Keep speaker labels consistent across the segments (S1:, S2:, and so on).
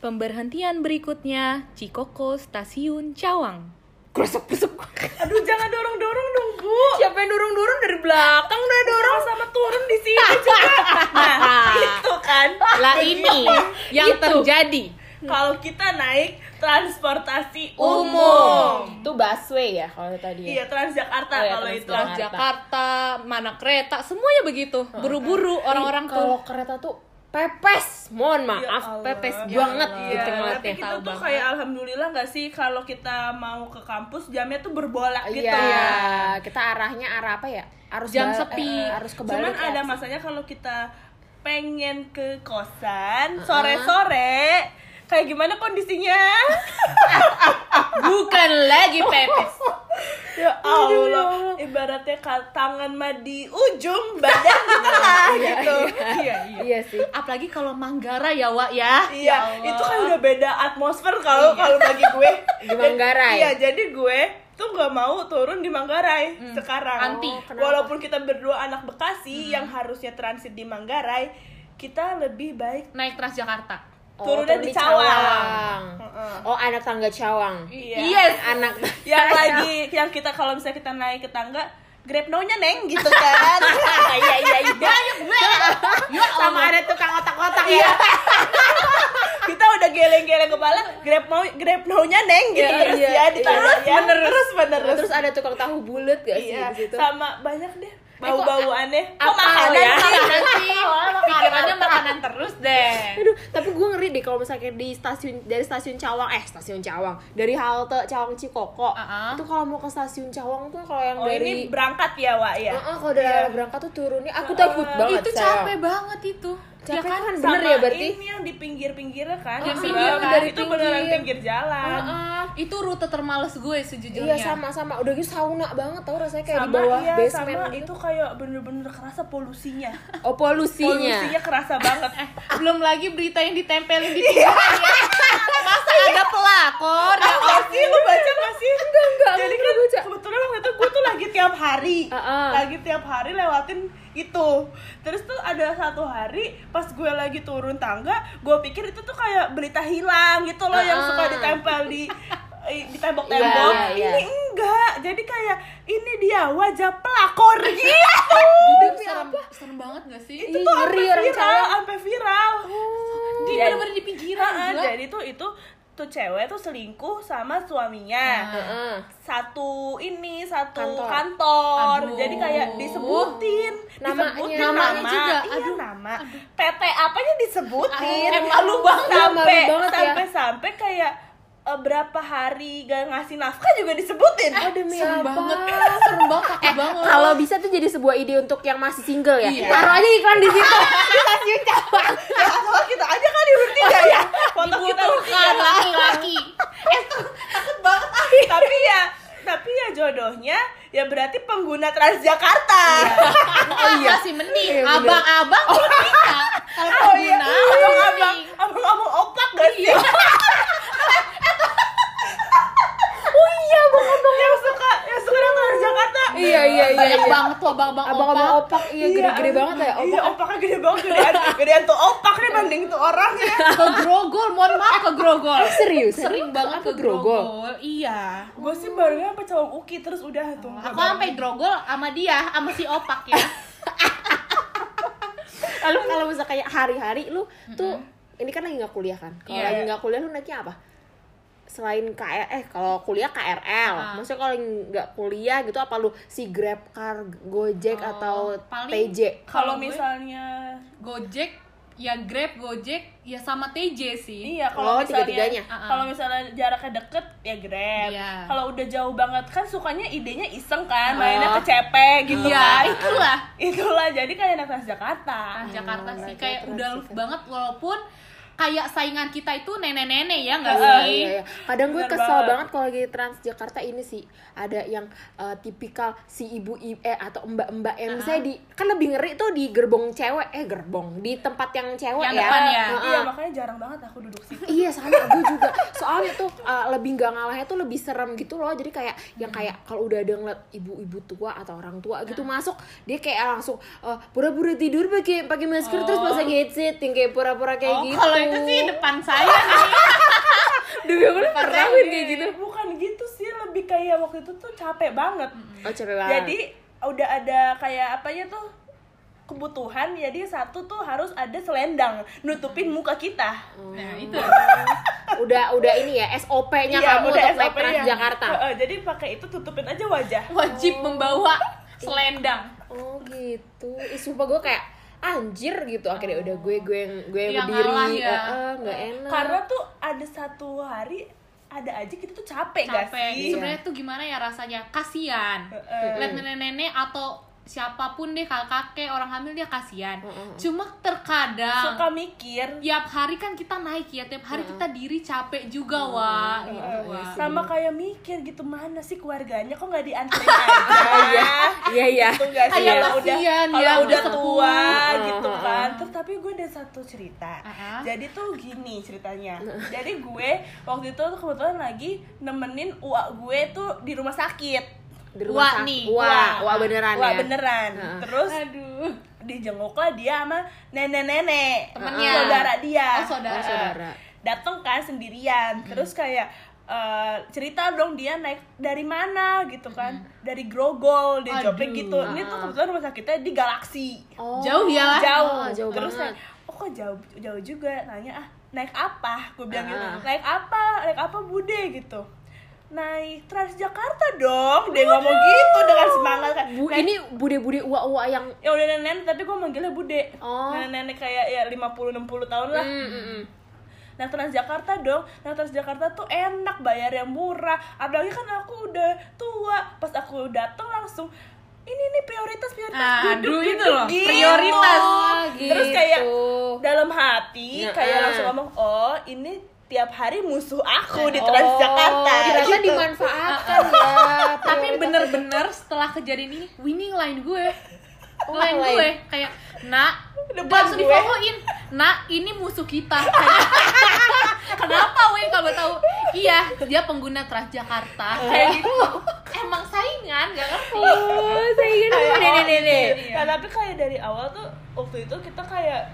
S1: Pemberhentian berikutnya Cikoko Stasiun Cawang.
S2: Krusuk krusuk.
S3: Aduh jangan dorong-dorong dong Bu.
S2: Siapa yang dorong-dorong dari belakang udah dorong.
S3: Sama-sama turun di sini juga. Nah, itu kan.
S1: Lah ini yang
S2: Itu.
S1: terjadi.
S3: Kalau kita naik transportasi umum.
S2: Umum. Itu busway ya kalau tadi. ya?
S3: Iya, Transjakarta
S2: Oh, iya,
S3: kalau itu.
S2: Transjakarta.
S1: Jakarta, mana kereta, semuanya begitu. Buru-buru orang-orang
S2: Ih,
S1: tuh.
S2: kalau kereta tuh pepes. Mohon
S3: kan Ya
S2: maaf,
S3: Allah,
S2: pepes
S3: ya
S2: banget
S3: Allah.
S2: gitu
S3: Iya, tapi
S2: ngeliatnya.
S3: kita
S1: Tahu
S3: tuh
S1: banget.
S3: kayak alhamdulillah gak sih kalau kita mau ke kampus jamnya tuh berbolak gitu
S2: Iya, kita arahnya arah apa ya? Arus
S1: Jam
S2: bal-
S1: sepi.
S2: eh, arus kebalik.
S3: Cuman
S2: ya.
S3: ada masanya kalau kita pengen ke kosan sore-sore kayak gimana kondisinya?
S1: Bukan lagi pepes.
S3: Ya Allah, ibaratnya ka- tangan mah di ujung badan di tengah gitu. Iya, iya.
S2: Iya sih.
S1: Apalagi kalau Manggarai ya, Wak ya.
S3: Iya,
S1: Ya
S3: itu
S1: Allah.
S3: kan udah beda atmosfer kalau kalau bagi gue.
S2: Di Manggarai.
S3: Iya, jadi gue tuh nggak mau turun di Manggarai sekarang.
S1: anti.
S3: Oh, Hmm. kenapa? Hmm. Walaupun kita berdua anak Bekasi yang harusnya transit di Manggarai, kita lebih baik
S1: naik Transjakarta.
S2: Oh,
S3: Turunnya di
S2: turun
S3: Cawang. Heeh.
S2: Oh, anak tangga Cawang.
S3: Iya.
S2: Anak
S3: Yang lagi yang kita kalau misalnya kita naik ke tangga, Grab now-nya neng gitu kan. Iya iya iya.
S2: sama ada tukang otak-otak ya.
S3: Kita udah geleng-geleng kepala, Grab now Grab now-nya neng gitu
S2: Iya,
S3: terus
S2: iya,
S3: ya di
S2: iya.
S3: tangga ya. Terus
S2: Terus,
S3: benerus.
S2: ada tukang tahu bulat gak sih gitu.
S3: Iya,
S2: di situ?
S3: sama banyak deh bau-bauannya. Kok
S2: apa
S1: Oh,
S3: makanan
S2: ya?
S3: sih?
S1: Nanti Iya pikirannya makanan terus deh.
S2: Aduh, tapi gue ngeri deh kalau misalnya di stasiun dari stasiun Cawang eh stasiun Cawang dari halte Cawang Cikoko
S1: Uh-uh.
S2: itu kalau mau ke stasiun Cawang tuh kalau yang
S3: Oh,
S2: dari
S3: ini berangkat ya, Wak ya.
S2: Heeh, kalau dari
S3: Iya.
S2: arah berangkat tuh turunnya aku takut banget.
S1: itu
S2: sayang.
S1: capek banget itu.
S2: Capek
S1: ya kan?
S2: kan?
S3: Sama
S2: Bener ya berarti? iya,
S3: ini yang di pinggir-pinggirnya kan.
S1: Yang
S3: Di
S1: pinggir
S3: bawah.
S1: kan? Dari
S3: itu beneran
S2: pinggir.
S3: pinggir jalan.
S1: Heeh. itu rute termales gue
S2: Iya
S1: sejujurnya.
S2: sama-sama. Udah gitu sauna banget tau rasanya kayak
S3: sama
S2: di bawah
S3: iya,
S2: basement.
S3: sama
S2: gitu.
S3: itu kayak bener-bener kerasa polusinya.
S2: Oh polusinya.
S3: Polusinya kerasa banget.
S1: Belum lagi berita yang ditempelin di TV ya. Masa ada pelakor? Ya
S3: Ada nggak sih lu baca nggak sih? Enggak
S2: enggak,
S3: Jadi
S2: enggak
S3: kan
S2: baca.
S3: kebetulan waktu itu gue tuh lagi tiap hari,
S2: Heeh.
S3: lagi tiap hari lewatin itu. Terus tuh ada satu hari pas gue lagi turun tangga, gue pikir itu tuh kayak berita hilang gitu loh yang suka ditempel di i- di tembok-tembok.
S2: Iya, iya,
S3: Ini enggak. Jadi kayak ini dia wajah pelakor gitu.
S1: Aduh, serem, serem banget gak sih?
S3: itu tuh
S2: Ih,
S3: sampai
S2: ngeri orang
S3: viral,
S2: cewek.
S3: sampai viral.
S1: Di
S2: Iya.
S1: bener-bener di pinggiran
S3: Heeh,
S1: gila.
S3: Ah, jadi tuh itu tuh cewek tuh selingkuh sama suaminya.
S2: Heeh.
S3: satu ini satu
S2: Kantor.
S3: kantor,
S1: Aduh.
S3: jadi kayak disebutin
S2: Namanya.
S3: disebutin
S1: Namanya
S3: nama.
S1: juga.
S3: iya
S1: Aduh.
S3: nama PT apanya disebutin
S1: Aduh. Eh, malu banget.
S3: sampai
S2: Malu banget ya.
S3: sampai sampai kayak eh, berapa hari gak ngasih nafkah juga disebutin
S2: Oh demi
S1: serem
S2: apa?
S1: banget. Serem banget, takut
S2: Eh,
S1: banget.
S2: kalau bisa tuh jadi sebuah ide untuk yang masih single ya.
S1: Iya.
S2: Taruh aja iklan di situ. Di stasiun Cawang.
S3: ya kalau kita aja kan di bertiga ya foto kita bertiga
S1: dibutuhkan laki-laki.
S3: takut banget ah. tapi ya tapi ya jodohnya ya berarti pengguna Transjakarta
S1: Oh iya sih mending.
S2: Iya, bener.
S1: Abang-abang kalau bisa. Kalau
S3: oh iya
S1: pengguna,
S3: abang-abang
S1: mending.
S3: abang-abang opak gak sih
S2: Oh iya, bukan
S3: yang suka yang suka datang dari Jakarta
S2: Iya iya iya.
S1: Banyak
S2: iya.
S1: banget tuh abang-abang
S2: Abang-abang
S1: opak.
S2: opak iya gede-gede banget ya.
S3: iya
S2: Opak.
S3: opaknya gede banget gedean gedean tuh opak nih banding tuh ya. orangnya
S1: Ke grogol, mohon maaf ke grogol.
S2: Serius?
S1: Sering banget ke
S2: Apa
S1: grogol. Iya.
S3: gue sih barunya apa cowok uki terus udah tuh
S1: Aku sampai grogol sama dia, sama si opak ya.
S2: Lalu kalau misalnya kayak hari-hari lu tuh ini kan lagi nggak kuliah kan? Kalau
S1: Iya.
S2: lagi nggak kuliah lu naiknya apa? Selain KR eh kalau kuliah KRL,
S1: Ah.
S2: maksudnya kalau lagi nggak kuliah gitu apa lu si Grab Car, Gojek
S1: Oh,
S2: atau
S1: paling-
S3: kalau
S2: TJ?
S1: Kalau gue-
S3: misalnya
S1: Gojek, ya Grab, Gojek, ya sama TJ sih.
S3: Iya, kalau
S2: Oh,
S3: misalnya
S2: tiga-tiganya.
S1: Uh-uh.
S3: kalau misalnya jaraknya deket ya Grab.
S1: Iya.
S3: Kalau udah jauh banget kan sukanya idenya iseng kan,
S2: Oh.
S3: mainnya ke cepe gitu
S1: Iya,
S3: kan.
S1: itulah. Ah,
S3: Itulah jadi kayak anak Iya, Transjakarta.
S1: Jakarta
S2: Oh,
S1: sih
S2: lagi
S1: kayak
S2: terus
S1: udah
S2: sih,
S1: love
S2: kan.
S1: banget walaupun kayak saingan kita itu nenek-nenek ya nggak
S2: Iya,
S1: sih?
S2: iya, iya. Kadang gue
S3: Bener
S2: kesel
S3: banget.
S2: banget kalau lagi Transjakarta ini sih ada yang eh, tipikal si ibu i- eh atau mbak-mbak yang
S1: Ah.
S2: misalnya di kan lebih ngeri tuh di gerbong cewek eh gerbong di tempat yang cewek
S1: Yang
S2: ya.
S1: depan ya.
S2: Heeh.
S3: Iya, makanya jarang banget aku duduk situ.
S2: Iya sama gue juga. Soalnya tuh uh, lebih nggak ngalahnya tuh lebih serem gitu loh. Jadi kayak yang kayak kalau udah ada ngeliat ibu-ibu tua atau orang tua gitu masuk, dia eh, kayak langsung uh, pura-pura tidur pakai pakai masker terus pasang headset yang kayak pura-pura
S1: Oh,
S2: kayak gitu.
S1: kalau yang itu sih depan saya nih.
S2: Demi aku lu
S1: Depan
S2: pernah
S1: saya.
S2: Win, kayak gitu.
S3: bukan gitu sih lebih kayak waktu itu tuh capek banget
S2: Oh, capek banget.
S3: jadi udah ada kayak apanya tuh kebutuhan jadi satu tuh harus ada selendang nutupin muka kita
S1: Nah, itu.
S2: udah udah ini ya SOP-nya
S3: Iya,
S2: kamu untuk naik
S3: SOP-nya.
S2: Transjakarta.
S3: Heeh, jadi pakai itu tutupin aja wajah
S1: Wajib membawa selendang.
S2: Oh gitu. Ih, sumpah gue kayak anjir gitu. Akhirnya udah gue gue yang gue yang
S1: Yang
S2: berdiri.
S1: ngalah ya.
S2: Eh, eh, nggak enak.
S3: karena tuh ada satu hari ada aja kita tuh
S2: Iya,
S3: capek, gak
S1: capek.
S2: gitu.
S3: sih
S1: Sebenarnya tuh gimana ya rasanya? Kasian.
S2: Iya,
S3: Heeh.
S1: Lihat nenek-nenek atau siapapun deh kakak kakek orang hamil dia kasihan. Cuma terkadang
S3: suka mikir
S1: tiap hari kan kita naik ya, tiap hari kita diri capek juga, Wak. Gitu,
S3: eh,
S1: Wak.
S3: sama kayak mikir gitu mana sih keluarganya kok nggak dianterin aja
S2: Iya iya.
S3: gitu nggak sih
S1: Kayak
S3: kalau udah
S1: kasihan
S3: kalau
S1: ya,
S3: udah
S1: sepuh.
S3: tua
S2: Heeh,
S3: gitu
S2: heeh.
S3: kan terus tapi gue ada satu cerita
S1: Heeh.
S3: jadi tuh gini ceritanya jadi gue waktu itu tuh kebetulan lagi nemenin uak gue tuh di rumah sakit
S2: Di rumah
S1: Wah,
S2: sak-
S1: nih.
S2: Wah, wah beneran
S3: Wah
S2: ya.
S3: Ah, beneran.
S2: Heeh.
S3: Terus
S1: Aduh.
S3: dijenguklah dia sama nenek-nenek,
S1: Temennya.
S3: saudara dia.
S1: Oh, saudara.
S3: Ah.
S2: Oh, saudara.
S3: Dateng kan sendirian. Terus kayak eh, cerita dong dia naik dari mana gitu kan. Dari Grogol dia
S1: Aduh.
S3: jawabnya gitu. Ini tuh kebetulan rumah sakitnya di Galaksi.
S2: Oh,
S1: Jauh ya lah.
S3: Jauh.
S2: Oh, jauh
S3: Terus
S2: banget.
S3: kayak, oh kok jauh jauh juga nanya ah naik apa? Gue bilang gitu.
S2: Ah.
S3: Naik apa? Naik apa Bude gitu. Naik Transjakarta dong. Dia ngomong gitu dengan semangat kan.
S2: Bu, ini bude-bude uwa-uwa yang
S3: Ya udah nenek tapi gue manggilnya bude
S2: Oh. Mm.
S3: Nenek-nenek kayak ya 50-60 tahun lah Nah Transjakarta dong Nah Transjakarta tuh enak bayar yang murah Apalagi kan aku udah tua Pas aku datang langsung Ini nih prioritas prioritas
S1: Nah, Aduh,
S3: duduk,
S1: itu
S3: duduk,
S1: loh,
S3: gitu.
S1: prioritas.
S3: Terus kayak
S2: gitu.
S3: dalam hati
S2: Ya,
S3: Kayak
S2: ah.
S3: langsung ngomong Oh ini tiap hari musuh aku di
S2: Oh,
S3: Transjakarta
S2: Ternyata
S3: gitu. Ah,
S2: dimanfaatkan ya.
S1: Tapi bener-bener setelah kejadian ini, winning lain gue.
S2: Oh,
S1: lain
S2: lain.
S1: gue kayak, "Nak,
S3: Depan
S1: langsung
S3: gue.
S1: difollow-in. Nak, ini musuh kita." Kenapa Win kalau tahu? Iya, dia pengguna Transjakarta. Kayak gitu. Emang saingan, gak ngerti.
S2: Oh, saya ingin
S3: Kayak
S2: nih nih nih. nih.
S1: Iya.
S3: Nah, tapi kayak dari awal tuh waktu itu kita kayak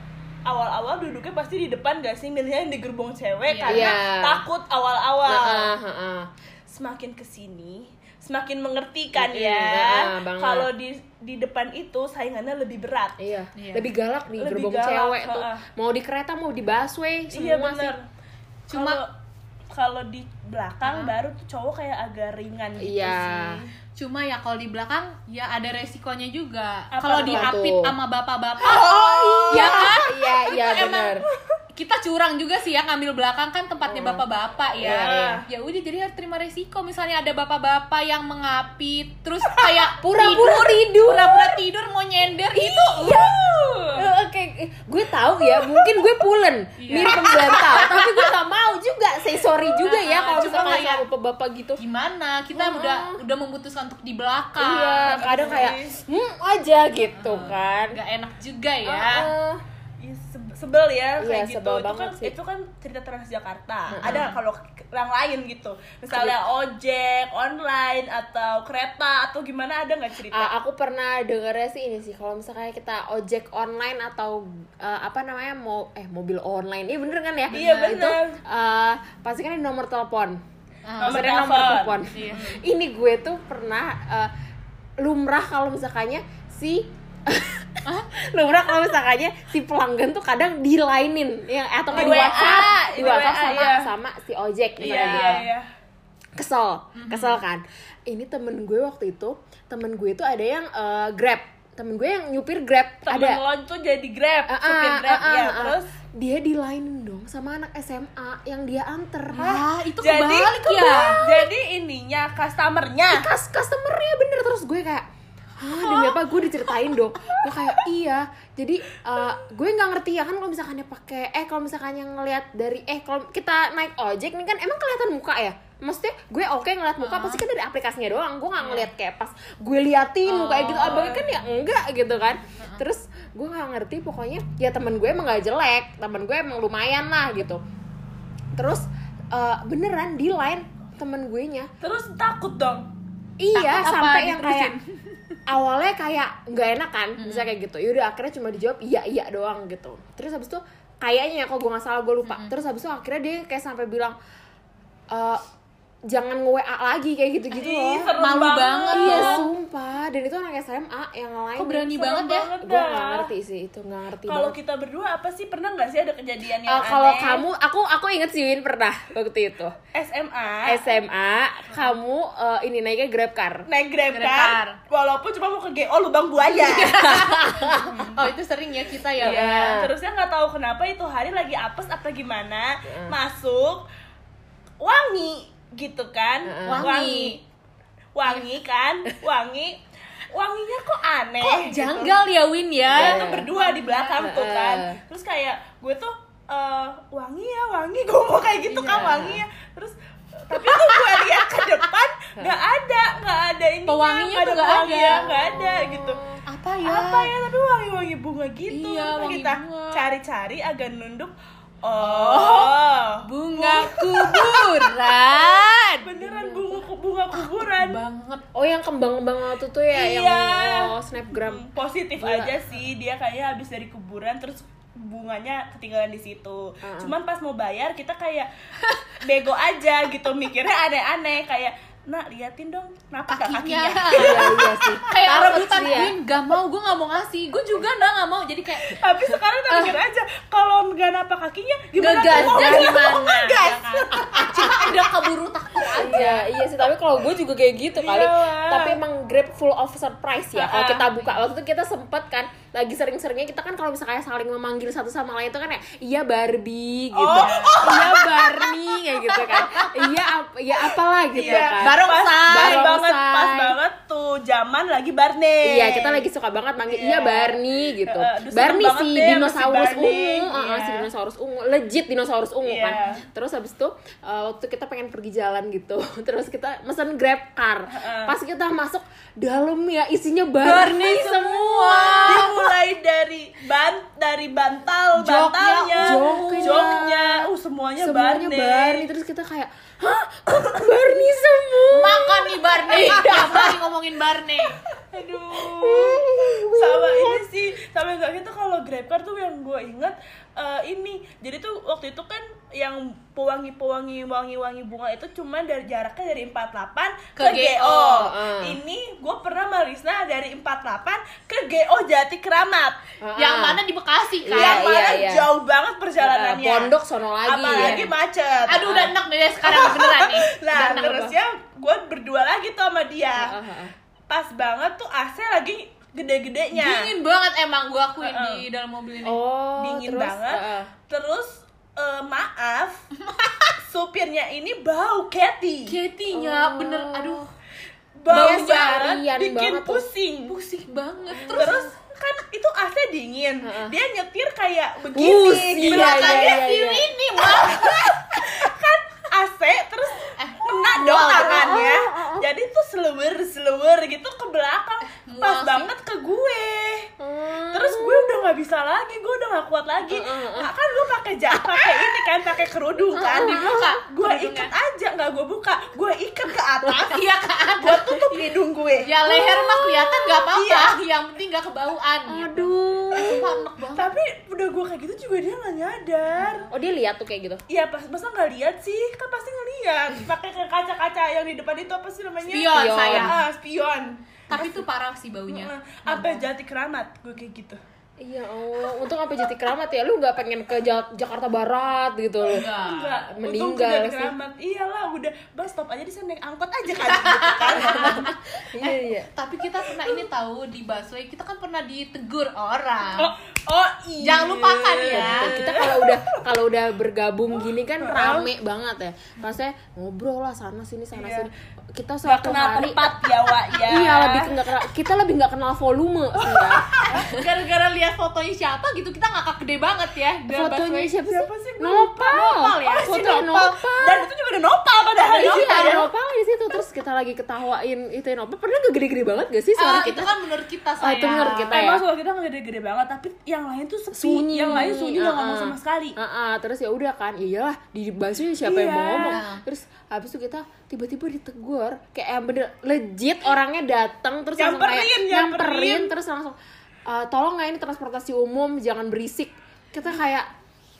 S3: awal-awal duduknya pasti di depan gak sih milihnya yang di gerbong cewek
S1: Iya.
S3: karena
S2: Iya. Nah,
S3: takut awal-awal.
S2: Heeh, heeh.
S3: Semakin kesini semakin mengerti kan
S2: Iya,
S3: ya
S2: iya, banget.
S3: kalau di di depan itu saingannya lebih berat.
S2: Iya,
S1: Iya.
S2: lebih galak di
S3: Lebih
S2: gerbong
S3: galak,
S2: cewek tuh.
S3: heeh.
S2: Mau di kereta, mau di busway, semua
S3: iya benar.
S2: sih.
S1: Cuma-
S3: Cuma kalau di belakang baru tuh cowok kayak agak ringan gitu
S2: Iya.
S3: sih.
S1: Cuma ya kalau di belakang ya ada resikonya juga.
S3: Apa
S1: Kalau
S3: tuh?
S1: diapit sama bapak-bapak
S2: Iya kan? Iya, iya
S1: Itu emang
S2: benar.
S1: kita curang juga sih ya ngambil belakang kan tempatnya bapak-bapak ya.
S3: Iya.
S1: Ya udah jadi harus terima resiko. Misalnya ada bapak-bapak yang mengapit terus kayak
S2: Pura-pura tidur. Iya.
S1: pura-pura tidur mau nyender itu.
S2: Eh, Oke, eh, gue tahu ya, mungkin gue pulen,
S1: Iya.
S2: mirip pembantal, tapi gue gak mau juga, say sorry juga ya
S1: Heeh,
S2: kalau
S1: ah, cuma
S2: misalkan
S1: kayak-
S2: sama bapak-bapak gitu.
S1: Gimana? Kita
S2: Wah.
S1: udah udah memutuskan untuk di belakang.
S2: Iya, kadang kayak hmm aja gitu kan. Eh,
S1: Gak enak juga ya.
S2: Heeh.
S3: Iya, se- sebel ya
S2: Iya,
S3: kayak gitu
S2: sebel
S3: itu kan
S2: banget sih.
S3: itu kan cerita Transjakarta ada kalau k- yang lain gitu misalnya ojek online atau kereta atau gimana ada nggak cerita
S2: Ah, aku pernah dengernya sih ini sih kalau misalnya kita ojek online atau eh, apa namanya mau eh mobil online iya bener kan ya
S3: Iya,
S2: Nah, itu
S3: bener.
S2: eh, pasti kan ada nomor telepon
S1: Ah.
S2: Pasti ada nomor
S3: Nomor
S2: telepon
S3: telepon.
S1: Iya.
S2: ini gue tuh pernah eh, lumrah kalau misalkannya si lumrah kalau misalkannya si pelanggan tuh kadang dilainin ya atau nggak
S3: Di
S2: di
S3: WA,
S2: WhatsApp di
S3: di
S2: WhatsApp
S3: WA,
S2: sama
S3: iya.
S2: sama si ojek
S3: iya
S2: misalnya
S3: iya
S2: gitu
S3: iya
S2: kesel kesel kan ini temen gue waktu itu temen gue itu ada yang eh, grab temen gue yang nyupir grab
S3: temen
S2: ada
S3: lo tuh jadi grab
S2: Ah,
S3: supir
S2: ah,
S3: grab
S2: ah,
S3: ya
S2: ah, ah.
S3: terus
S2: dia dilainin dong sama anak SMA yang dia anter
S1: Hah, itu
S3: jadi
S1: kebalik ya.
S3: kebalik. jadi ininya customernya
S2: kas customernya bener terus gue kayak Hah, demi apa gue diceritain dong gue kayak iya jadi eh, gue nggak ngerti ya kan kalau misalkan dia pakai eh kalau misalkan yang ngelihat dari eh kalau kita naik ojek nih kan emang kelihatan muka ya maksudnya gue oke ngeliat muka pasti kan dari aplikasinya doang gue nggak ngeliat kayak pas gue liatin mukanya gitu abangnya kan ya enggak gitu kan terus gue nggak ngerti pokoknya ya temen gue emang gak jelek temen gue emang lumayan lah gitu terus eh, beneran di line temen gue nya
S3: terus takut dong
S2: Iya,
S1: Takut apa
S2: sampai yang kayak
S1: diterusin?
S2: awalnya kayak nggak enak kan, bisa kayak gitu. Yaudah akhirnya cuma dijawab iya iya doang gitu. Terus habis itu kayaknya kok gue nggak salah gue lupa
S1: Mm-mm.
S2: terus habis itu akhirnya dia kayak sampai bilang "Eh, jangan nge WA lagi kayak gitu gitu
S3: Ih,
S2: loh
S3: serem
S1: Malu banget.
S2: iya
S1: serem.
S2: sumpah dan itu anak SMA yang lain
S1: Kok berani
S3: Serem
S1: banget ya?
S2: gue
S3: dah.
S2: nggak ngerti sih itu nggak ngerti
S3: Kalau
S2: banget.
S3: kita berdua apa sih pernah nggak sih ada kejadian yang
S2: Eh, kalau
S3: aneh?
S2: kamu aku aku inget sih Win pernah waktu itu
S3: SMA
S1: Ah.
S2: SMA kamu eh, ini naiknya grab car
S3: naik grab
S1: Grab car.
S3: car walaupun cuma mau ke GO lubang buaya
S1: Oh itu sering ya kita ya.
S2: Iya.
S3: terusnya nggak tahu kenapa itu hari lagi apes apa gimana masuk wangi gitu kan
S2: Heeh.
S3: wangi wangi kan wangi wanginya kok aneh
S1: Kok
S3: gitu.
S1: janggal ya Win
S3: Iya,
S1: ya?
S3: tuh berdua di belakang tuh kan terus kayak gue tuh eh, wangi ya wangi gue mau kayak gitu kan
S2: Iya.
S3: wangi ya terus tapi tuh gue lihat ke depan nggak ada nggak ada ini
S1: Pewanginya tuh nggak ada.
S3: nggak ada gitu
S1: Apa ya?
S3: apa ya tapi wangi-wangi bunga gitu
S1: Iya,
S3: Terus
S1: wangi
S3: kita
S1: bunga.
S3: cari-cari agak nunduk oh
S1: Bunga kuburan.
S3: beneran bunga bunga kuburan
S1: Banget.
S2: oh yang kembang-kembang waktu itu ya yang
S3: Iya.
S2: oh, snapgram Iya.
S3: Hmm, positif
S2: Gila.
S3: aja sih dia kayaknya habis dari kuburan terus bunganya ketinggalan di situ. Cuman pas mau bayar kita kayak bego aja gitu mikirnya aneh-aneh kayak nak liatin dong kenapa nggak
S1: Kakinya.
S3: kakinya.
S2: iya iya sih
S1: Kayak
S2: Takut
S1: rebutan gitu.
S2: sih ya.
S1: Win gak mau, gue gak mau ngasih. Gue juga gak, gak mau. Jadi kayak
S3: Tapi sekarang kita mikir aja kalau nggak napa kakinya gimana
S1: Ngegas,
S2: Oh,
S3: tuh mau
S1: jangan
S3: ngegas?
S1: gimana,
S3: Mau ngegas?
S1: Ya kan? cuma udah keburu takut aja.
S2: Iya, iya sih. Tapi kalau gue juga kayak gitu kali.
S3: Iyalah.
S2: Tapi emang Grab full of surprise ya. Kalau
S1: Ah.
S2: kita buka waktu itu kita sempet kan lagi sering-seringnya kita kan kalau misalnya saling memanggil satu sama lain itu kan ya, iya Barbie gitu.
S3: Oh.
S2: Iya Barney kayak gitu kan. Iya ap- ya apalah gitu
S3: Iya,
S2: kan.
S1: Baru- Barongsai.
S3: pas banget, pas
S2: Barongsai.
S3: banget tuh zaman lagi Barney.
S2: Iya, kita lagi suka banget manggil iya
S3: Iya.
S2: Barney gitu.
S3: Eh, aduh, seneng
S2: Barney
S3: banget
S2: si
S3: deh sama si
S2: dinosaurus
S3: Barney.
S2: ungu, eh, eh, si
S3: Iya.
S2: dinosaurus ungu, legit dinosaurus ungu
S3: Iya.
S2: kan. Terus habis itu eh, waktu kita pengen pergi jalan gitu, terus kita mesen Grab car. Pas kita masuk dalam ya isinya Barney semua.
S3: dimulai dari ban dari bantal
S1: Joknya,
S3: bantalnya
S2: joknya.
S3: joknya uh semuanya,
S2: Semuanya
S3: Barney.
S2: Barney terus kita kayak, "Hah? Kok Barney semua?"
S1: Makan nih Barney.
S2: Iya.
S1: Gak berani ngomongin Barney.
S3: aduh sama ini sih sama yang kayak gitu kalau grabcar tuh yang gue inget eh, ini jadi tuh waktu itu kan yang pewangi pewangi wangi wangi bunga itu cuman dari jaraknya dari 48
S1: Ke
S3: ke, GO,
S1: GO,
S2: eh.
S3: ini gue pernah Marisna dari 48 ke GO Jati Keramat
S2: Ah,
S1: Yang
S2: ah.
S1: mana di Bekasi kan?
S2: Iya,
S3: yang mana
S2: iya.
S3: jauh banget
S2: Eh,
S3: perjalanannya
S2: pondok sono lagi
S3: apalagi
S2: ya.
S3: macet
S1: Aduh udah enak deh sekarang beneran nih.
S3: nah
S1: Udah enak gua.
S3: terusnya gue berdua lagi tuh sama dia
S2: Ah, ah, ah.
S3: pas banget tuh AC lagi gede-gedenya
S1: Dingin banget emang gue akuin
S3: Heeh.
S1: di dalam mobil ini.
S2: Iya. Ah. Oh,
S3: dingin
S2: terus,
S3: banget
S2: eh, eh.
S3: terus eh, maaf supirnya ini bau Cathy
S1: Ketinya
S2: Oh.
S1: bener, aduh
S3: bau
S2: Baunya seharian
S3: banget bikin
S2: banget tuh.
S3: pusing
S1: pusing banget. Terus,
S3: terus kan itu AC dingin
S2: Heeh.
S3: dia nyetir kayak
S2: Bus,
S3: begini
S2: iya,
S3: belakangnya
S2: iya,
S1: si
S2: iya.
S1: ini mah
S3: kan AC terus kena
S1: Eh, mual.
S3: dong
S1: gitu. Ah,
S3: tangannya jadi tuh seluwer seluwer gitu ke belakang
S1: Mual
S3: pas
S1: sih.
S3: banget ke gue
S2: Hmm.
S3: terus gue udah nggak bisa lagi gue udah nggak
S1: Eh,
S3: kuat lagi nah, kan gue pakai ja- pakai ini kan pakai kerudung kan
S1: eh, dibuka
S3: gue
S1: kerudungnya.
S3: ikat aja nggak gue buka gue ikat ke atas
S1: Iya kan?
S3: gue tutup hidung gue
S1: Ya leher mah kelihatan gak apa-apa,
S3: Iya.
S1: yang penting gak kebauan. gitu.
S2: Aduh.
S1: Sumpah enak banget.
S3: tapi udah gue kayak gitu juga dia nggak nyadar
S2: Oh dia lihat tuh kayak gitu.
S3: Iya, pas masa nggak lihat sih, kan pasti ngeliat. Pakai ke kaca-kaca yang di depan itu apa sih namanya?
S1: Spion,
S2: Spion.
S1: saya.
S3: Ah, spion.
S1: Tapi itu parah sih baunya.
S3: Heeh. Apa jati keramat? Gue kayak gitu.
S2: Iya Allah, untung apa jati keramat ya, lu nggak pengen ke Ja- Jakarta Barat gitu loh.
S1: Enggak.
S3: Enggak, untung ke
S2: meninggal
S3: jati
S2: sih.
S3: keramat. Iyalah, udah. Bas stop aja di sana naik angkot aja kan. gitu kan.
S2: Iya iya.
S1: Tapi kita pernah ini tahu di busway kita kan pernah ditegur
S3: Oh,
S1: orang.
S3: oh iya.
S1: Jangan
S2: kan,
S1: lupakan ya.
S2: Betul. Kita kalau udah kalau udah bergabung gini kan rame banget ya. Maksudnya ngobrol lah sana sini sana
S3: Iya.
S2: sini. Kita
S3: Gak
S2: suatu
S3: kenal
S2: hari
S3: tempat ya, Wak ya.
S2: Iya lebih ke nggak kenal, kita lebih nggak kenal volume sih ya.
S1: ah. Gara-gara lihat fotonya siapa gitu kita ngakak gede banget ya. Dan
S2: Fotonya
S1: busway-
S2: siapa sih?
S3: Siapa sih? Gua
S2: Nopal.
S1: Nopal ya?
S2: Foto
S1: Si
S2: Nopal.
S3: Dan itu juga ada ya. nopal padahal.
S2: Iya,
S3: Nopal.
S2: ada Nopal di situ terus kita lagi ketawain itu ya, Nopal. Padahal nggak gede-gede banget gak sih
S1: Ah,
S2: suara
S1: itu
S2: kita?
S1: kan menurut kita
S2: Oh,
S1: saya.
S2: itu menurut kita ya.
S3: Emang suara kita nggak gede-gede banget, tapi yang lain tuh sepi.
S2: sunyi Ah,
S3: Yang lain sunyi nggak ngomong
S2: Heeh.
S3: sama sekali.
S2: Heeh, terus ya udah kan ya iyalah di bahasanya siapa yang mau
S3: Iya.
S2: ngomong terus habis itu kita tiba-tiba ditegur kayak yang bener legit orangnya datang terus langsung kayak
S3: Nyamperin,
S2: nyamperin,
S3: nyamperin.
S2: terus langsung "Eh, tolong nggak ini transportasi umum jangan berisik kita kayak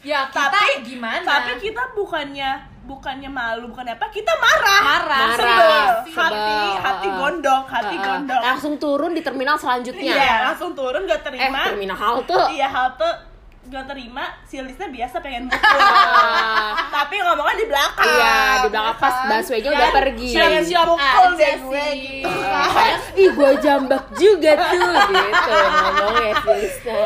S1: ya kita
S3: Tapi-
S1: gimana
S3: Tapi kita bukannya bukannya malu, bukan apa, kita marah.
S1: Marah.
S3: Sebel.
S2: Marah.
S3: Hati,
S2: Sebel.
S3: hati gondok, hati
S2: Uh, uh,
S3: gondok.
S2: langsung turun di terminal
S3: Iya,
S2: selanjutnya
S3: langsung turun gak
S2: eh
S3: terima.
S2: terminal halte
S3: Iya, halte gak terima, si Lisnya biasa pengen mukul. Tapi ngomongnya di belakang.
S2: iya di belakang pas
S3: kan?
S2: busway-nya udah
S3: Dan
S2: pergi
S3: siap-
S2: Eh,
S3: siap mukul
S1: aja
S3: deh gue
S1: sih.
S3: gitu.
S2: ih gua jambak juga tuh gitu ngomongnya si Lisa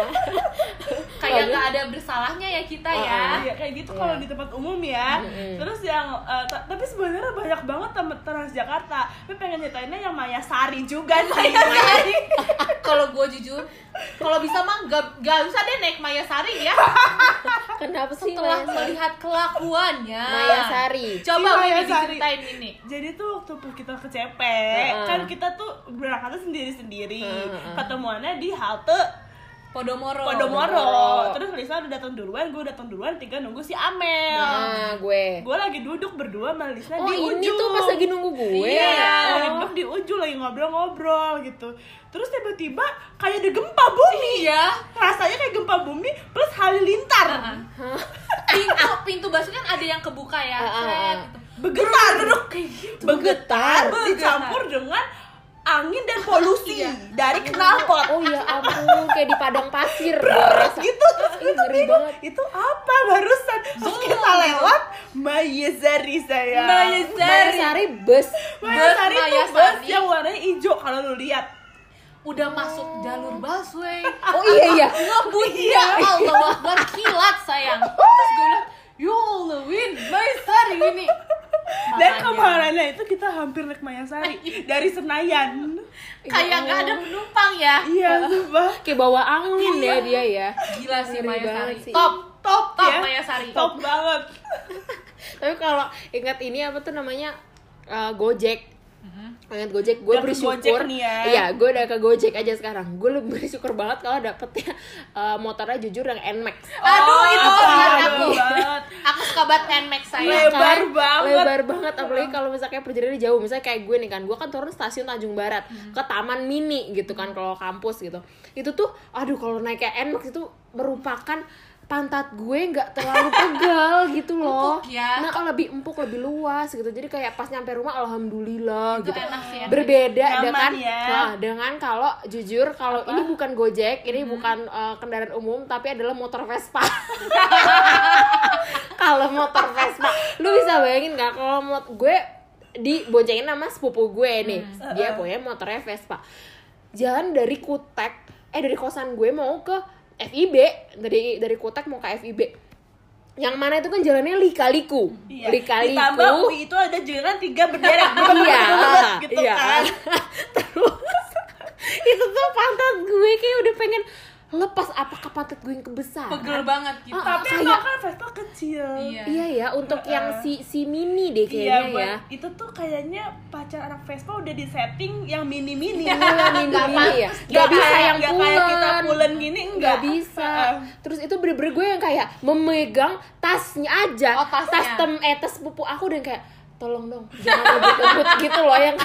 S1: kayak nggak ada bersalahnya ya kita ya
S3: Iya kayak gitu kalau di tempat umum ya. Terus yang eh, ta- tapi sebenarnya banyak banget teman Transjakarta. Tapi pengen nyetainnya yang Maya Sari juga nih. Maya Sari.
S1: kalau gue jujur kalau bisa mah gak, usah deh naik Maya Sari ya
S2: kenapa sih
S1: setelah
S2: Maya Sari?
S1: melihat kelakuannya
S2: Maya Sari
S1: coba
S3: Si
S1: gue
S3: Maya Sari.
S1: diceritain ini
S3: Iya, Jadi tuh waktu kita ke CP,
S2: Heeh.
S3: kan kita tuh berangkatnya sendiri-sendiri.
S2: Heeh.
S3: Ketemuannya di halte
S1: Podomoro
S3: Podomoro. Terus Lisa udah datang duluan, gue datang duluan, tiga nunggu si Amel.
S2: nah gue
S3: Gue lagi duduk berdua sama Lisa
S2: oh
S3: di
S2: ini
S3: ujung.
S2: tuh pas lagi nunggu ya? gue
S3: Iya, lagi duduk di ujung lagi ngobrol-ngobrol gitu. Terus tiba-tiba kayak ada gempa bumi.
S1: iya
S3: Rasanya kayak gempa bumi plus halilintar.
S1: pintu pintu busway kan ada yang kebuka ya
S2: Ah, ah,
S1: Set,
S2: ah.
S1: gitu.
S3: Bergetar duduk
S2: Bergetar. Iya.
S3: Bergetar dicampur dengan angin dan polusi dari knalpot.
S2: oh ya ampun kayak di padang pasir gue
S3: terus
S2: rasa
S3: gitu terus gue
S2: Iya. Ih,
S3: tuh
S2: ngeri
S3: bingung
S2: banget.
S3: itu apa barusan terus kita lewat Mayezari saya
S1: Maya Sari.
S2: Maya Sari bus
S3: Mayezari
S1: Bus
S3: itu
S1: Maya
S3: bus
S1: Sari.
S3: yang warnanya hijau kalau lu lihat
S1: udah masuk jalur busway
S2: oh iya iya
S1: ngebut ya Allah Akbar kilat sayang terus gue bilang ya Allah Win Maya Sari ini Makanya.
S3: dan kemarinnya itu kita hampir naik Mayasari dari Senayan
S2: Ya
S1: kayak nggak ada penumpang ya
S3: iya sumpah
S2: kayak bawa angin ya
S3: Iya.
S2: dia ya
S1: gila sih
S2: Ngeri
S1: Maya Sari
S2: banget sih.
S1: top
S3: top
S1: Top,
S3: ya
S1: Maya Sari.
S3: top banget
S2: tapi kalau ingat ini apa tuh namanya eh, Gojek Ingat Gojek, gue
S3: Udah ke Mm-hmm.
S2: bersyukur
S3: Gojek nih ya.
S2: Iya, gue udah ke Gojek aja sekarang Gue lebih bersyukur banget kalau dapetnya eh, Motornya jujur yang Nmax
S1: aduh itu
S3: Oh,
S1: pilihan
S3: aduh,
S1: aku
S3: banget.
S1: aku suka banget Nmax saya
S3: Lebar banget.
S2: Lebar banget, apalagi kalau misalnya perjalanannya jauh Misalnya kayak gue nih kan, gue kan turun stasiun Tanjung Barat
S1: Hmm.
S2: Ke Taman Mini gitu kan, kalau kampus gitu Itu tuh, aduh kalau naiknya Nmax itu merupakan pantat gue nggak terlalu pegal gitu loh
S1: Empuk ya.
S2: Nah, lebih empuk, lebih luas gitu Jadi kayak pas nyampe rumah, alhamdulillah
S1: Itu
S2: gitu
S1: enak sih, ya. enak.
S2: Berbeda
S3: Nyaman
S2: dengan
S3: ya.
S2: nah, dengan kalau jujur kalau ini bukan Gojek, ini
S1: Hmm.
S2: bukan uh, kendaraan umum tapi adalah motor Vespa. kalau motor Vespa, lu bisa bayangin nggak kalau mot gue diboncengin sama sepupu gue nih.
S3: Hmm.
S2: Dia punya motornya Vespa. Jalan dari Kutek, eh dari kosan gue mau ke FIB, dari dari Kutek mau ke FIB. Yang mana itu kan jalannya lika-liku.
S3: Iya.
S2: Lika-liku.
S3: ditambah UI itu ada jalan tiga berderet
S2: iya
S3: gitu
S2: iya.
S3: kan
S2: terus itu tuh pantat gue kayak udah pengen lepas apakah pantat gue yang kebesaran
S1: pegel banget gitu
S2: Ah,
S3: tapi emang kan Vespa kecil
S1: Iya.
S2: iya ya untuk yang si si mini
S3: Iya,
S2: deh kayaknya
S3: buat-
S2: ya
S3: itu tuh kayaknya pacar anak Vespa udah di setting yang mini-mini.
S2: Iya, mini-mini ya. Gak bisa
S3: kayak-
S2: yang
S3: gak kayak kita
S2: pulen.
S3: pulen gini enggak.
S2: nggak bisa
S3: Heeh.
S2: terus itu bener-bener gue yang kayak memegang tasnya aja
S1: Oh, tasnya.
S2: tas tem eh tas pupu aku dan kayak tolong dong jangan ngebut-ngebut gitu loh yang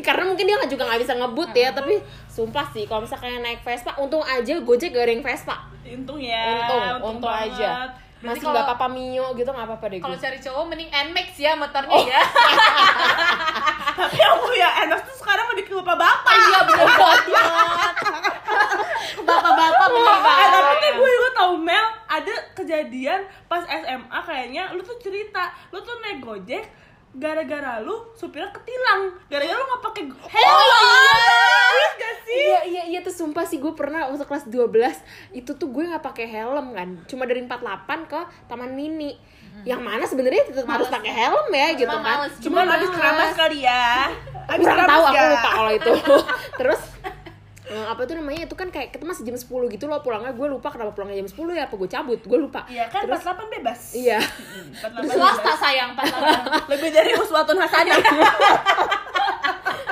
S2: karena mungkin dia nggak- juga nggak bisa ngebut ya tapi sumpah sih kalau misalnya naik Vespa untung aja Gojek goreng Vespa
S3: Untung ya.
S2: untung untung, aja
S3: banget.
S1: Eh, Berarti
S2: masih nggak
S1: kalau-
S2: apa-apa mio gitu nggak apa-apa deh
S1: kalau
S2: gue
S1: cari cowok mending Nmax ya motornya ya
S3: Tapi aku ya Enos tuh sekarang udah kelupa bapak.
S1: iya bener banget bapak-bapak bener
S3: Eh,
S1: banget
S3: tapi tuh gue juga tau Mel ada kejadian pas SMA kayaknya lu tuh cerita lu tuh naik gojek gara-gara lu supirnya ketilang gara-gara lu nggak pakai
S1: Oh, iya.
S3: helm Ingat gak sih
S2: Iya iya iya tuh sumpah sih gue pernah waktu kelas 12 itu tuh gue nggak pakai helm kan. Cuma dari 48 ke Taman Mini. Yang mana sebenarnya tetap harus pakai helm ya gitu kan.
S1: males.
S3: cuman
S2: Cuma
S3: habis keramas kali ya habis
S2: kurang
S3: keramas
S2: tahu aku
S3: ya.
S2: lupa kalau itu. Terus eh, apa tuh namanya itu kan kayak kita masih jam 10 gitu loh pulangnya gue lupa kenapa pulangnya jam 10 ya apa gue cabut gue lupa
S3: Iya kan
S2: Terus-
S3: 48 bebas. Hmm,
S2: iya
S3: 48
S1: swasta
S3: bebas.
S1: sayang pas lagi.
S3: Lebih dari uswatun hasanah.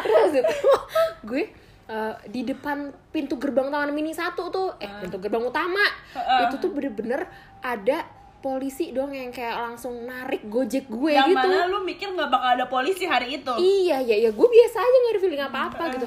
S2: terus itu gue eh, di depan pintu gerbang taman mini satu tuh eh pintu gerbang utama
S3: Ah. Heeh.
S2: itu tuh bener-bener ada polisi dong yang kayak langsung narik gojek gue
S3: Yang
S2: gitu
S3: mana lu mikir nggak bakal ada polisi hari itu.
S2: iya ya ya gue biasa aja nggak ada feeling apa apa gitu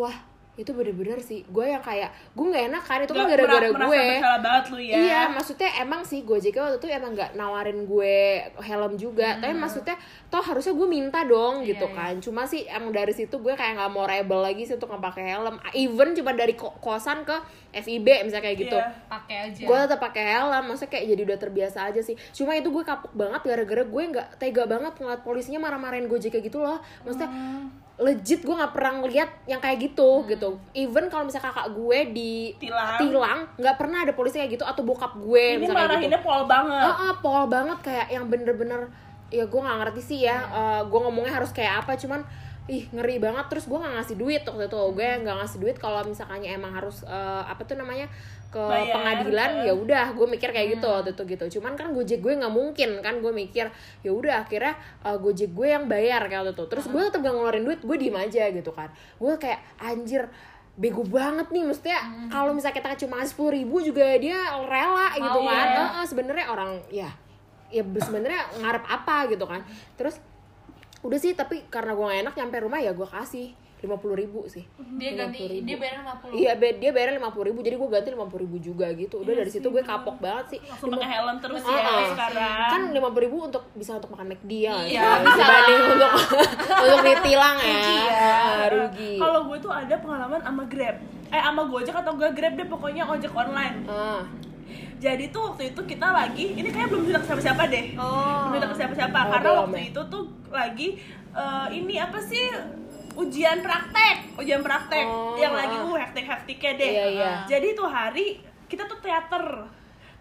S2: wah itu bener-bener sih gue yang kayak gue nggak enak kan itu kan
S3: Nggak-
S2: gara-gara
S3: merasa
S2: gue
S3: bersalah banget lu ya
S2: Iya, maksudnya emang sih Gojek waktu itu emang nggak nawarin gue helm juga, tapi maksudnya toh harusnya gue minta dong
S1: Iya,
S2: gitu
S1: iya.
S2: kan. Cuma sih emang dari situ gue kayak nggak mau rebel lagi sih untuk nggak pakai helm. Ah, Even cuma dari ko- kosan ke FIB misalnya kayak gitu.
S3: Iya.
S1: pakai aja
S2: Gue tetap pakai helm, maksudnya kayak jadi udah terbiasa aja sih. Cuma itu gue kapok banget gara-gara gue nggak tega banget ngeliat polisinya marah-marahin Gojek kayak gitu loh. Maksudnya
S3: Oh.
S2: legit gue nggak pernah ngeliat yang kayak gitu gitu. Even kalau misalnya kakak gue di
S3: Hmm. Tilang.
S2: tilang, nggak pernah ada polisi kayak gitu atau bokap gue
S3: ini
S2: misalnya kayak gitu.
S3: marahinnya pol banget
S2: Ah, ah, pol banget kayak yang bener-bener ya gue nggak ngerti sih
S3: Iya.
S2: ya eh, gue ngomongnya harus kayak apa cuman ih ngeri banget terus gue nggak ngasih duit waktu itu gue nggak ngasih duit kalau misalkannya emang harus eh, apa tuh namanya ke
S3: Bayar,
S2: pengadilan
S3: eh.
S2: ya udah gue mikir kayak
S1: Hmm.
S2: gitu waktu itu gitu cuman kan gojek gue nggak mungkin kan gue mikir ya udah akhirnya eh, gojek gue yang bayar kayak waktu itu
S1: Hmm.
S2: terus gue tetap gak ngeluarin duit gue diem aja gitu kan gue kayak anjir bego banget nih mestinya kalau misalnya kita cuma ngasih sepuluh ribu juga dia rela gitu
S1: Hmm. Mau,
S2: kan
S1: ya.
S2: Eh, eh, sebenarnya orang ya ya sebenarnya ngarep apa gitu kan terus udah sih tapi karena gue gak enak nyampe rumah ya gue kasih lima puluh ribu sih
S1: dia ganti
S2: 50.000.
S1: dia bayar 50
S2: iya be- dia bayar lima puluh ribu jadi gue ganti lima puluh ribu juga gitu udah dari situ gue kapok banget sih
S3: langsung pakai helm terus
S2: Ah,
S3: ya
S2: ah.
S3: sekarang
S2: kan lima puluh ribu untuk bisa untuk makan McD ya
S1: Iya,
S2: kan?
S1: bisa.
S2: dibanding untuk untuk ditilang ya Ah,
S3: Iya.
S2: rugi
S3: Kalau gue tuh ada pengalaman sama Grab. Eh sama Gojek atau gak Grab deh pokoknya ojek online.
S2: Ah,
S3: Jadi tuh waktu itu kita lagi, ini kayak belum cerita ke siapa-siapa deh.
S1: oh
S3: Belum cerita ke siapa-siapa
S2: Oh,
S3: karena
S2: belum
S3: waktu
S2: ya.
S3: itu tuh lagi eh, ini apa sih ujian praktek, ujian praktek
S2: Oh,
S3: yang lagi
S2: ah.
S3: uh hektik-hektiknya deh.
S2: Iya, iya.
S3: Jadi tuh hari kita tuh teater.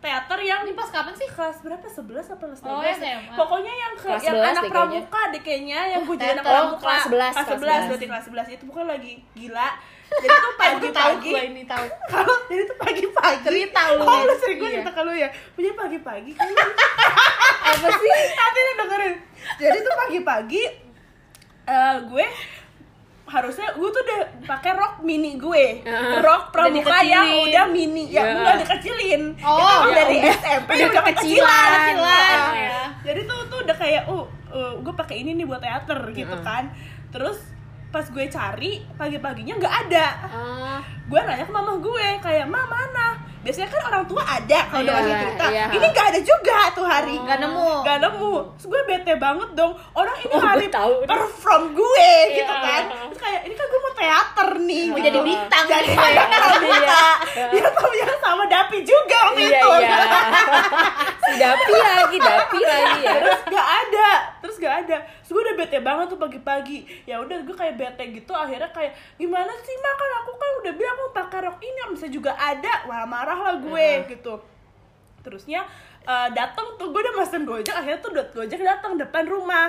S3: Teater yang
S1: ini pas kapan sih
S3: kelas berapa 11 apa kelas 12
S1: Oh, SMA.
S3: pokoknya yang ke,
S2: Kelas
S3: yang
S2: 11
S3: anak
S2: deh kayaknya.
S3: pramuka deh kayaknya yang gue jadi anak
S2: teater. Oh,
S3: pramuka
S2: kelas 11,
S3: kelas
S2: kelas
S3: 11 berarti kelas 11 itu bukan lagi gila jadi tuh pagi-pagi
S1: gue ini tahu
S3: kalau jadi tuh pagi-pagi
S1: Cerita lu
S3: oh
S1: nih.
S3: lu sering gue
S1: Iya.
S3: cerita ke lu ya punya pagi-pagi kayaknya
S2: apa sih
S3: nanti lu dengerin jadi tuh pagi-pagi eh, gue harusnya gue tuh udah pakai rok mini gue
S2: Heeh.
S3: rok pramuka
S1: dikecilin.
S3: yang udah mini ya
S2: Iya.
S3: udah dikecilin
S1: Oh,
S3: itu emang
S1: ya
S3: dari SMP
S2: udah
S3: udah
S2: kekecilan.
S3: kecilan, kecilan.
S1: Oh, ya.
S3: jadi tuh tuh udah kayak uh, gue pakai ini nih buat teater gitu
S2: Heeh.
S3: kan terus pas gue cari pagi-paginya nggak ada
S2: Ah,
S3: gue nanya ke mama gue kayak mama mana biasanya kan orang tua ada kalau udah
S2: Iya,
S3: ngasih cerita
S2: iya. Oh.
S3: ini nggak ada juga tuh hari
S1: Nggak nemu.
S3: nggak nemu terus gue bete banget dong orang ini
S2: Oh, gue
S3: hari
S2: tahu.
S3: perform gue
S2: Iya.
S3: gitu kan terus kayak ini kan gue mau teater nih
S1: Mau
S3: gitu.
S1: jadi bintang
S3: jadi
S2: Iya.
S1: gitu ya.
S3: anak pramuka dia tuh yang sama Dapi juga ya, waktu
S2: iya
S3: itu
S2: iya si dapi lagi dapi lagi ya
S3: terus gak ada terus gak ada terus gue udah bete banget tuh pagi-pagi ya udah gue kayak bete gitu akhirnya kayak gimana sih ma kan aku kan udah bilang mau pakai rok ini bisa juga ada wah marah lah gue gitu terusnya eh, datang tuh gue udah mesen gojek akhirnya tuh dot gojek datang depan rumah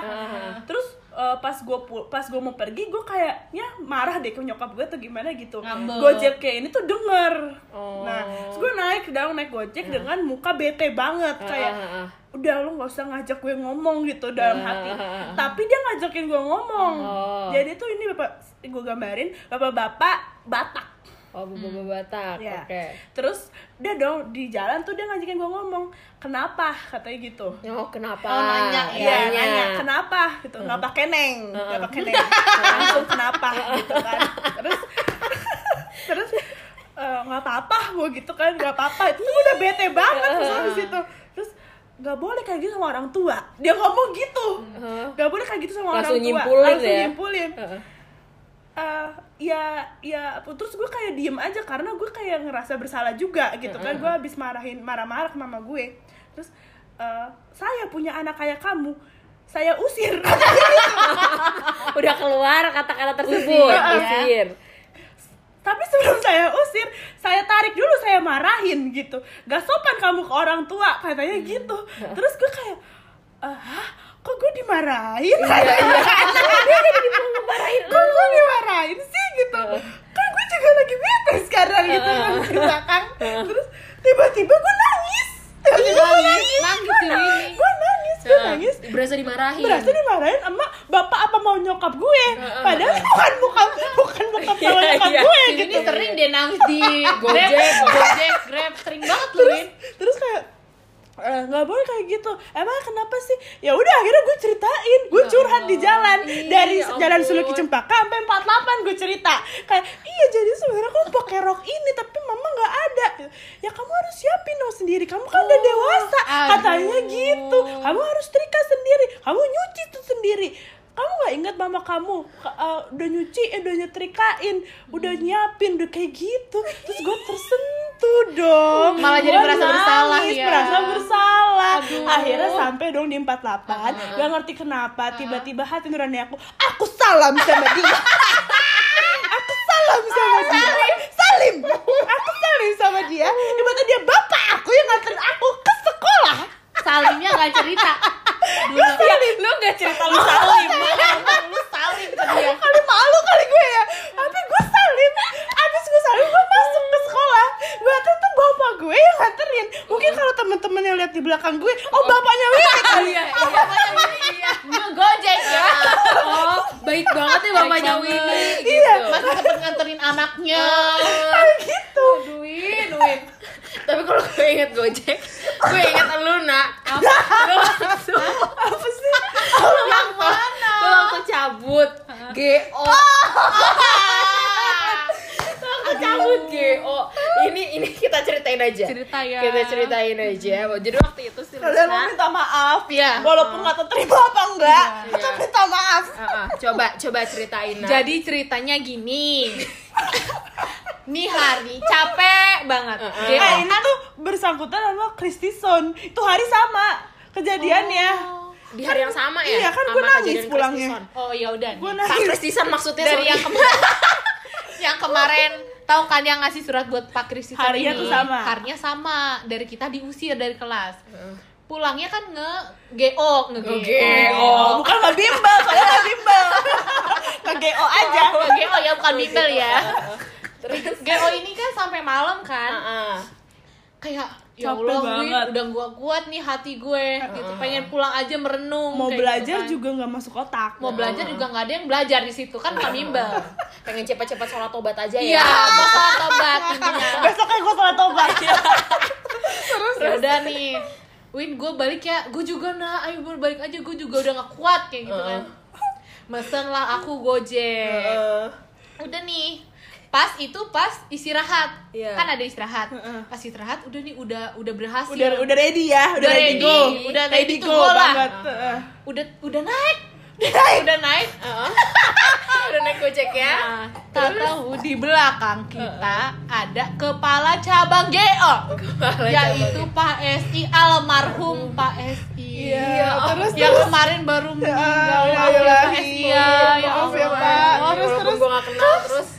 S3: terus eh, pas gue pul- pas gue mau pergi gue kayaknya marah deh ke nyokap gue atau gimana gitu
S1: Ngambek.
S3: gojek kayak ini tuh denger
S2: Oh.
S3: nah terus gue naik ke dalam naik gojek dengan muka bete banget kayak
S2: Ah, ah, ah.
S3: udah lu nggak usah ngajak gue ngomong gitu dalam hati tapi dia ngajakin gue ngomong
S2: Oh.
S3: jadi tuh ini bapak gue gambarin bapak-bapak batak
S2: oh bobo batak
S3: ya
S2: oke
S3: terus dia dong di jalan tuh dia ngajakin gue ngomong kenapa katanya gitu
S2: Oh kenapa?
S1: Oh, nanya,
S2: Iya,
S3: Iya, Uh-huh.
S2: nanya.
S3: nanya kenapa gitu, nggak pakai neng, nggak pakai neng, langsung kenapa gitu kan, terus terus eh, nggak apa-apa gue gitu kan, nggak apa-apa, itu tuh udah bete banget terus
S2: Iya.
S3: habis itu, terus nggak boleh kayak gitu sama orang tua, dia ngomong gitu, nggak boleh kayak gitu sama orang
S2: Langsung
S3: tua,
S2: nyimpulin
S3: langsung
S2: ya?
S3: nyimpulin,
S2: Heeh.
S3: Eh, ya ya terus gue kayak diem aja karena gue kayak ngerasa bersalah juga gitu kan gue habis marahin marah-marah ke mama gue terus eh, saya punya anak kayak kamu saya usir
S2: Udah keluar kata-kata tersebut.
S1: Usir, ya.
S2: Usir.
S3: tapi sebelum saya usir saya tarik dulu saya marahin gitu gak sopan kamu ke orang tua katanya gitu terus gue kayak "Ah, hah? kok gue dimarahin Dia jadi dimarahin Iya, kok gue dimarahin sih gitu kan gue juga lagi bete sekarang gitu kan di belakang terus tiba-tiba gue nangis tiba-tiba gue nangis
S1: nangis tuh
S3: gue nangis
S1: ini.
S3: gue nangis gue nangis
S1: berasa dimarahin
S3: berasa dimarahin sama bapak apa mau nyokap gue padahal bukan bukan bukan bukan sama
S2: Iya,
S3: nyokap
S2: iya.
S3: gue
S1: Ini
S3: gitu
S1: sering dia nangis di Gojek,
S2: Gojek.
S1: Gojek, Grab, sering banget lu,
S3: terus
S1: Win.
S3: terus kayak eh "Eh, nggak boleh kayak gitu emang kenapa sih ya udah akhirnya gue ceritain gue curhat di jalan
S1: Ih,
S3: dari
S1: ya
S3: jalan
S1: ampun.
S3: Suluki Cempaka sampai 48 gue cerita kayak iya jadi sebenarnya kamu pakai rok ini tapi mama nggak ada ya kamu harus siapin dong sendiri kamu kan udah
S1: Oh,
S3: dewasa katanya
S1: aduh.
S3: gitu kamu harus trika sendiri kamu nyuci tuh sendiri kamu nggak ingat mama kamu Ka- eh, udah nyuci eh, udah nyetrikain udah
S1: Hmm.
S3: nyiapin udah kayak gitu terus gue tersentuh dong
S2: Malah jadi
S3: Gua
S2: merasa bersalah
S3: nangis,
S2: ya.
S3: merasa bersalah
S1: Aduh.
S3: akhirnya sampai dong di 48 gak ngerti kenapa tiba-tiba hati nurani aku aku salam sama dia aku salam sama dia salim aku salim sama dia tiba-tiba dia bapak aku yang nganterin aku ke sekolah
S1: Salimnya nggak cerita. Dulu.
S3: lu gak cerita lu salim
S1: Lu salim ke
S2: Iya.
S1: dia.
S3: kali malu kali gue ya tapi gue salim abis gue salim gue masuk ke sekolah berarti tuh bapak gue yang nganterin mungkin kalau temen-temen yang lihat di belakang gue oh bapaknya Wiwi kali ya
S1: Oh, bapaknya Winnie ya. Ngegojek ya. Oh, baik banget ya bapaknya
S2: Baik banget.
S1: Winnie gitu.
S3: Iya.
S1: Masih sempet nganterin anaknya. Oh,
S3: gitu
S1: Duit, duit.
S2: Tapi kalau gue inget Gojek, gue inget Luna.
S1: Apa?
S2: Lu waktu
S3: apa sih
S2: lu waktu, lu
S1: Ah.
S2: waktu cabut, GO. Lu waktu cabut GO. Ini ini kita ceritain aja.
S1: Cerita ya.
S2: Kita ceritain aja. Jadi waktu itu sih
S3: kalian mau
S1: Nah.
S2: Luna-
S3: minta maaf
S2: Iya.
S3: walaupun nggak terima apa enggak
S1: Iya,
S3: tetap minta maaf
S2: Ah, ah, coba coba ceritain. Nah.
S1: Jadi ceritanya gini. Nih hari capek banget.
S2: Heeh.
S1: Dia-
S3: eh ini tuh bersangkutan sama Kristison itu hari sama kejadiannya
S2: di hari yang sama ya.
S3: Iya, kan gue
S2: sama
S3: nangis
S2: kejadian
S3: pulangnya.
S2: Kristison.
S1: Oh ya udah. nih.
S3: gue
S2: Pak
S3: nangis
S2: Kristison maksudnya
S1: Dari
S2: sorry.
S1: yang kemarin yang kemarin tahu kan yang ngasih surat buat Pak Kristi
S3: Harinya
S1: ini.
S3: tuh sama.
S1: Harinya sama. Dari kita diusir dari kelas. Pulangnya kan nge GO, nge GO.
S2: Nge-GO.
S3: Oh, bukan nggak bimbel, soalnya nggak bimbel. Ke GO aja.
S1: Nge GO ya bukan bimbel ya. Terus GO ini kan sampai malam kan.
S2: Ah, ah.
S1: kayak ya
S3: Capek
S1: Allah Win,
S3: banget.
S1: udah gua kuat nih hati gue gitu pengen pulang aja merenung
S3: Mau
S1: kayak
S3: belajar
S1: gitu kan.
S3: juga nggak masuk otak.
S1: mau belajar juga nggak ada yang belajar di situ kan bukan bimbel
S2: Pengen cepat-cepat sholat tobat aja ya.
S1: iya mau sholat tobat intinya
S3: Besoknya gue salah tobat.
S1: terus ya udah nih Win gue balik ya gue juga nah ayo Bun, balik aja gue juga udah nggak kuat kayak gitu kan mesen lah aku gojek
S3: Eh,
S2: Heeh.
S1: udah nih pas itu pas istirahat
S2: Iya.
S1: kan ada istirahat
S3: Heeh.
S1: pas istirahat udah nih udah udah berhasil
S3: Udah udah ready ya, udah
S1: Udah
S3: ready
S1: ready.
S3: go.
S1: Udah ready to go lah.
S3: banget. Heeh.
S1: udah udah naik
S3: Naik.
S1: udah naik
S2: Udah naik Gojek ya.
S1: Nah, tak tahu di belakang kita ada kepala cabang GO
S2: Kepala
S1: yaitu Pak SI almarhum Pak SI
S3: Iya, terus,
S1: yang
S3: terus.
S1: kemarin baru meninggal
S3: ya
S1: Maaf ya, Pak
S3: ilahi.
S1: SI ya ya
S3: Maaf ya,
S1: Allah.
S3: Pak.
S1: Oh, terus
S2: Walaupun
S1: terus
S2: gue gak kenal terus.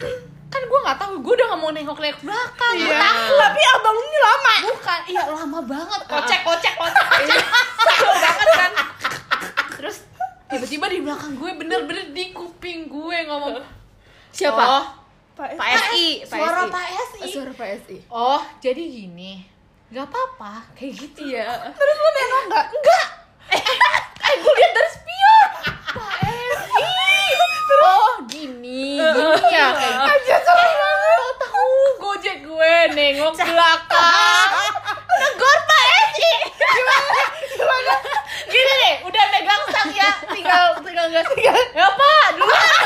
S1: kan gue nggak tahu gue udah nggak mau nengok nengok belakang gua
S2: Iya.
S1: takut.
S3: Tapi abang ini lama.
S1: bukan iya lama banget Ah. Iya, kocek
S2: kocek, kocek, kocek. banget kan.
S1: terus tiba-tiba di belakang gue bener-bener di kuping gue ngomong
S2: Siapa?
S1: oh,
S3: Pak,
S2: Pak
S1: Ah,
S2: SI.
S1: suara Pak SI
S2: Suara Pak SI.
S1: Oh, jadi gini. Gak apa-apa, kayak gitu ya.
S3: terus lu nengok nggak? Enggak.
S1: Eh, gue liat dari spion. Pak Esi. Oh, gini, gini ya. Kayak
S3: Aja salah banget.
S1: Tahu tahu gojek gue nengok belakang. Negor Pak Esi. Gimana? Gimana? Gini deh, udah megang stang ya. Tinggal tinggal gas. Ya Pak, duluan. ya.